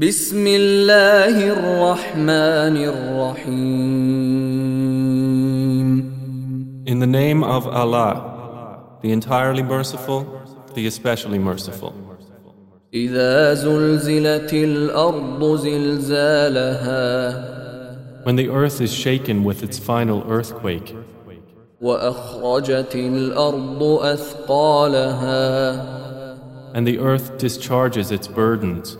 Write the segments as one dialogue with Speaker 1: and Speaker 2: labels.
Speaker 1: بسم الله الرحمن الرحيم
Speaker 2: In the name of Allah, the entirely merciful, the especially merciful.
Speaker 1: إذا زلزلت الأرض زلزالها
Speaker 2: When the earth is shaken with its final earthquake,
Speaker 1: وأخرجت الأرض أثقالها
Speaker 2: and the earth discharges its burdens,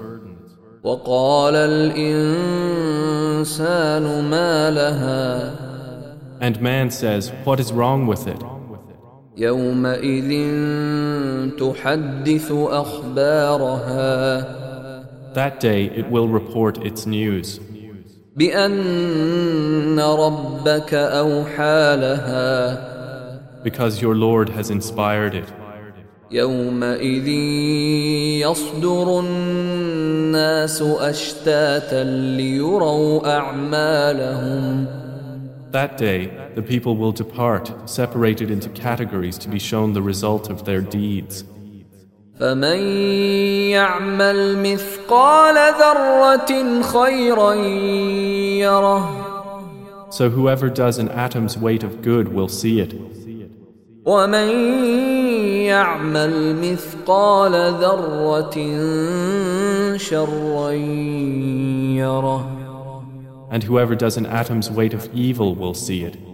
Speaker 1: وقال الإنسان ما لها
Speaker 2: and man says, What is wrong with it?
Speaker 1: يومئذ تحدث أخبارها
Speaker 2: That day it will report its news
Speaker 1: بأن ربك أوحى لها
Speaker 2: because your Lord has inspired it.
Speaker 1: يومئذ يصدر الناس أشتاتا ليروا أعمالهم
Speaker 2: That day the people will depart, separated into categories to be shown the result of their deeds.
Speaker 1: فمن يعمل مثقال ذرة خيرا يره
Speaker 2: So whoever does an atom's weight of good will see it.
Speaker 1: ومن يعمل مثقال ذرة شرا يره
Speaker 2: and whoever does an atom's weight of evil will see it.